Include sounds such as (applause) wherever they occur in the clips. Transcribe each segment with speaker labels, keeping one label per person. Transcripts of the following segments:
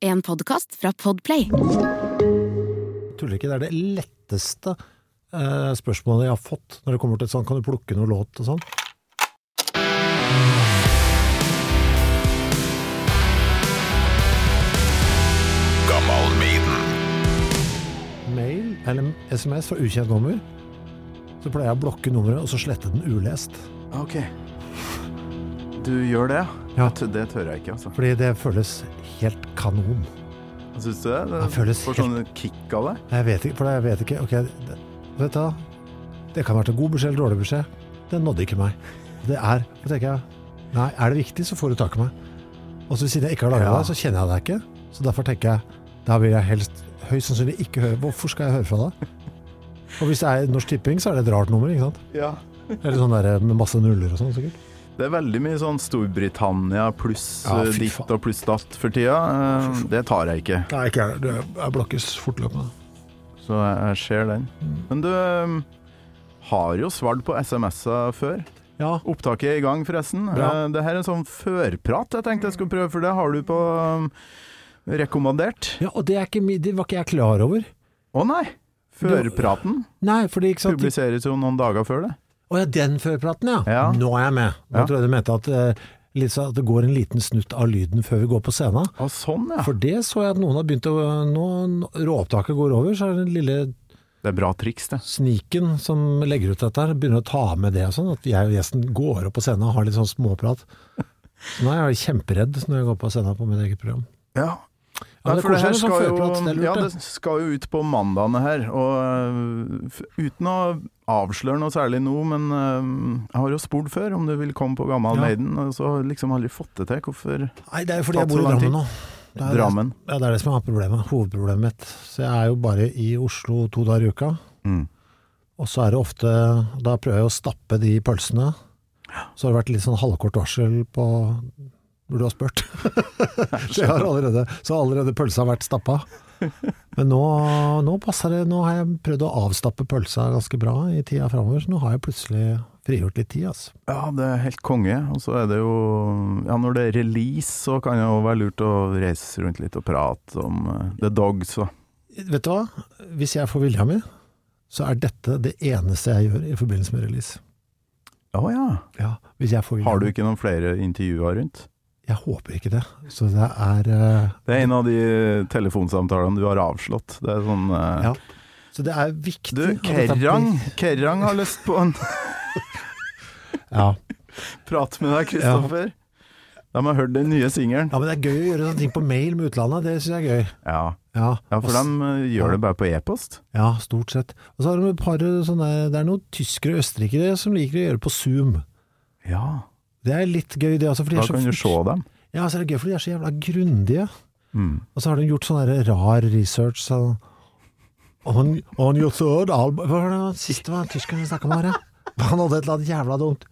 Speaker 1: En podkast fra Podplay.
Speaker 2: tuller ikke, det er det letteste eh, spørsmålet jeg har fått når det kommer til et sånt, kan du plukke noe låt og sånn?
Speaker 3: Gammal Maiden.
Speaker 2: Mail eller SMS fra ukjent nummer, så pleier jeg å blokke nummeret og så slette den ulest.
Speaker 3: Ok. Du gjør det?
Speaker 2: Ja.
Speaker 3: T- Det tør jeg ikke, altså.
Speaker 2: Fordi det føles helt kanon.
Speaker 3: Syns du det?
Speaker 2: Det føles
Speaker 3: Får sånn kick av det?
Speaker 2: Jeg vet ikke, for jeg vet ikke, ok, det, vet du hva? Det kan være til god beskjed eller dårlig beskjed. Det nådde ikke meg. Det er, da tenker jeg, nei, er det viktig så får du tak i meg. Og så siden jeg ikke har laget
Speaker 3: Ja.
Speaker 2: deg, så kjenner jeg deg ikke. Så derfor tenker jeg, da vil jeg helst høyst sannsynlig ikke høre, hvorfor skal jeg høre fra deg? Og hvis det er Norsk Tipping, så er det et rart nummer, ikke sant?
Speaker 3: Ja.
Speaker 2: Eller sånn der med masse nuller og sånn, sikkert.
Speaker 3: Det er veldig mye sånn Storbritannia pluss
Speaker 2: Ja,
Speaker 3: eh,
Speaker 2: fy
Speaker 3: ditt
Speaker 2: faen.
Speaker 3: og pluss datt for tida. Eh, Det tar jeg ikke,
Speaker 2: Nei, ikke jeg, det er blokkes fortløpende.
Speaker 3: så jeg jeg ser den.
Speaker 2: Mm.
Speaker 3: Men du eh, har jo svart på SMS-er før.
Speaker 2: Ja,
Speaker 3: Opptaket er i gang, forresten.
Speaker 2: Bra.
Speaker 3: Eh, Det her er en sånn førprat jeg tenkte jeg skulle prøve, for det har du på eh, rekommandert.
Speaker 2: ja og det, er ikke, mi- det var ikke jeg klar over.
Speaker 3: Å nei! Førpraten
Speaker 2: Nei, fordi ikke sant,
Speaker 3: publiseres jo noen dager før det.
Speaker 2: Å ja, den førpraten, ja.
Speaker 3: Ja.
Speaker 2: Nå er jeg med. Nå
Speaker 3: Ja.
Speaker 2: tror jeg du mente at, eh, litt sånn at det går en liten snutt av lyden før vi går på scenen.
Speaker 3: Å, sånn, ja.
Speaker 2: For det så jeg at noen har begynt å Nå råopptaket går over, så er det den lille
Speaker 3: Det er bra triks, det.
Speaker 2: sniken som legger ut dette her, begynner å ta med det og sånn. At jeg og gjesten går opp på scenen og har litt sånn småprat. Så nå er jeg kjemperedd når jeg går på scenen på mitt eget program.
Speaker 3: Ja.
Speaker 2: Ja, men
Speaker 3: Nei,
Speaker 2: det
Speaker 3: for det
Speaker 2: koser
Speaker 3: her
Speaker 2: meg sånn
Speaker 3: skal
Speaker 2: førprat, det er
Speaker 3: jo,
Speaker 2: lurt,
Speaker 3: ja,
Speaker 2: det.
Speaker 3: det skal jo ut på mandagene her, og øh, f- uten å avsløre noe særlig nå, men øh, jeg har jo spurt før om du vil komme på Gammal
Speaker 2: Ja.
Speaker 3: Maiden, og så har jeg liksom aldri fått det til. Hvorfor
Speaker 2: Nei, det er jo fordi jeg
Speaker 3: Tatt
Speaker 2: bor i
Speaker 3: så lang tid.
Speaker 2: Drammen nå. Det er,
Speaker 3: Drammen?
Speaker 2: Det, ja, det er det som er problemet, hovedproblemet mitt. Så jeg er jo bare i Oslo to dager i uka.
Speaker 3: Mm.
Speaker 2: Og så er det ofte Da prøver jeg å stappe de pølsene. Så har det vært litt sånn halvkort varsel på hvor du har spurt. (laughs) så, jeg har allerede, så har allerede pølsa vært stappa. Men nå, nå passer det. Nå har jeg prøvd å avstappe pølsa ganske bra i tida framover, så nå har jeg plutselig frigjort litt tid, altså.
Speaker 3: Ja, det er helt konge. Og så er det jo Ja, når det er release, så kan det jo være lurt å reise rundt litt og prate om øh, The Dogs og
Speaker 2: Vet du hva? Hvis jeg får vilja mi, så er dette det eneste jeg gjør i forbindelse med release.
Speaker 3: Å ja.
Speaker 2: Ja, hvis jeg får vilja
Speaker 3: Har du
Speaker 2: mi.
Speaker 3: ikke noen flere intervjuer rundt?
Speaker 2: Jeg håper ikke det. Så det er eh,
Speaker 3: Det er en av de telefonsamtalene du har avslått. Det er sånn øh,
Speaker 2: Ja. Så det er viktig
Speaker 3: Du,
Speaker 2: at dette blir-
Speaker 3: Kerrang, Kerrang har lyst på en (laughs)
Speaker 2: Ja.
Speaker 3: prat med deg, Kristoffer. De har hørt den nye singelen.
Speaker 2: Ja, men det er gøy å gjøre sånne ting på mail med utlandet, det synes jeg er gøy.
Speaker 3: Ja.
Speaker 2: Ja,
Speaker 3: ja, for
Speaker 2: og s-
Speaker 3: de eh, gjør det bare på e-post.
Speaker 2: Ja, stort sett. Og så har de et par eh, sånne, det er noen tyskere og østerrikere som liker å gjøre på Zoom.
Speaker 3: Ja,
Speaker 2: Det er litt gøy det også, for de
Speaker 3: da
Speaker 2: er så,
Speaker 3: kan du se dem.
Speaker 2: ja, så er det gøy, for de er så jævla grundige.
Speaker 3: Mm.
Speaker 2: Og så har de gjort sånn der rar research, sånn, on, on your third album, hva var det den siste var tyskeren vi snakket om her, ja? Han hadde et eller annet jævla dumt.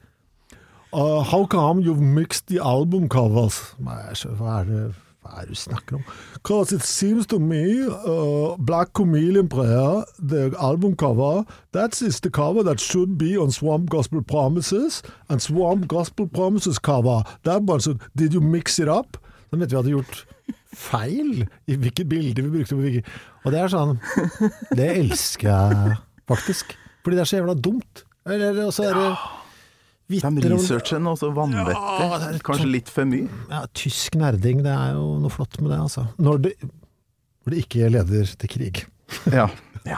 Speaker 2: Uh, how come you've mixed the album covers? Nei, jeg skjønner- Hva er det hva er det du snakker om? Cause it seems to me, uh, Black Chameleon Prayer, the album cover, that is the cover that should be on Swamp Gospel Promises, and Swamp Gospel Promises cover. That one, should- did you mix it up? Da mente vi hadde gjort feil i hvilket bilde vi brukte. på hvilket. Og det er sånn, det elsker jeg faktisk. Fordi det er så jævla dumt. Eller, og så er det...
Speaker 3: De
Speaker 2: vitner om-
Speaker 3: researcher noe så
Speaker 2: Ja, det er sånn.
Speaker 3: vanvettig.
Speaker 2: et
Speaker 3: Kanskje
Speaker 2: sånt-
Speaker 3: litt for mye.
Speaker 2: Ja, tysk nerding, det er jo noe flott med det, altså. Når det, når det ikke leder til krig.
Speaker 3: Ja. ja.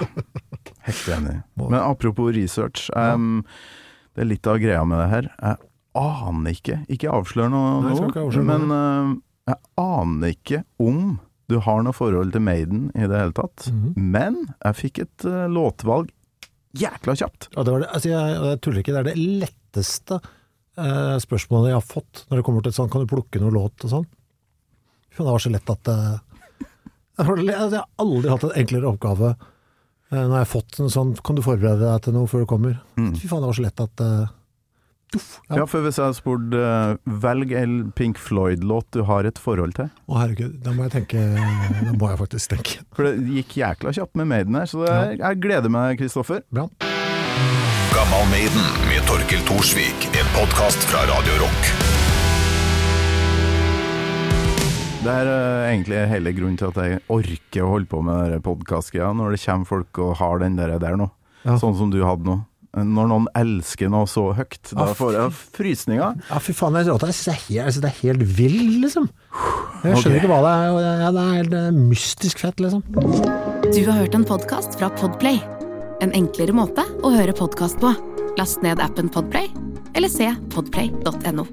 Speaker 3: Helt enig. Men apropos research. em, det er litt av greia med det her. Jeg aner ikke Ikke avslør noe
Speaker 2: Nei, jeg skal ikke
Speaker 3: nå,
Speaker 2: avsløre
Speaker 3: men em, jeg aner ikke om du har noe forhold til Maiden i det hele tatt.
Speaker 2: Mhm.
Speaker 3: Men jeg fikk et eh, låtvalg jækla kjapt.
Speaker 2: Ja, det var det. Altså, jeg, og jeg tuller ikke, det er det letteste eh, spørsmålet jeg har fått når det kommer til sånn, kan du plukke noe låt og sånn? Fy faen, det var så lett at eh, det var le- altså, Jeg har aldri hatt en enklere oppgave eh, når jeg har fått en sånn, kan du forberede deg til noe før du kommer? Fy faen, det var så lett at eh, Uff, ja.
Speaker 3: Ja, for hvis jeg hadde spurt eh, Velg en Pink Floyd-låt du har et forhold til.
Speaker 2: Å herregud, da må jeg tenke, eh, da må jeg faktisk tenke.
Speaker 3: For det gikk jækla kjapt med Maiden her, så det, jeg gleder meg, Kristoffer.
Speaker 2: Bra.
Speaker 4: Gammal Maiden med Torkel Thorsvik. En podkast fra Radio Rock.
Speaker 3: Det er eh, egentlig hele grunnen til at jeg orker å holde på med podkast-greia, når det kommer folk og har den der, der nå.
Speaker 2: Ja.
Speaker 3: Sånn som du hadde nå. Når noen elsker noe så høyt, da
Speaker 2: Ah,
Speaker 3: får jeg frysninger.
Speaker 2: Ja, fy faen, jeg, råter. jeg synes det, er helt, jeg synes det er helt vill, liksom. Jeg skjønner
Speaker 3: Ok.
Speaker 2: ikke hva det er. og det- Ja, det er helt eh, mystisk fett, liksom.
Speaker 1: Du har hørt en podcast fra Podplay. En enklere måte å høre podcast på. Last ned appen Podplay, eller se podplay.no.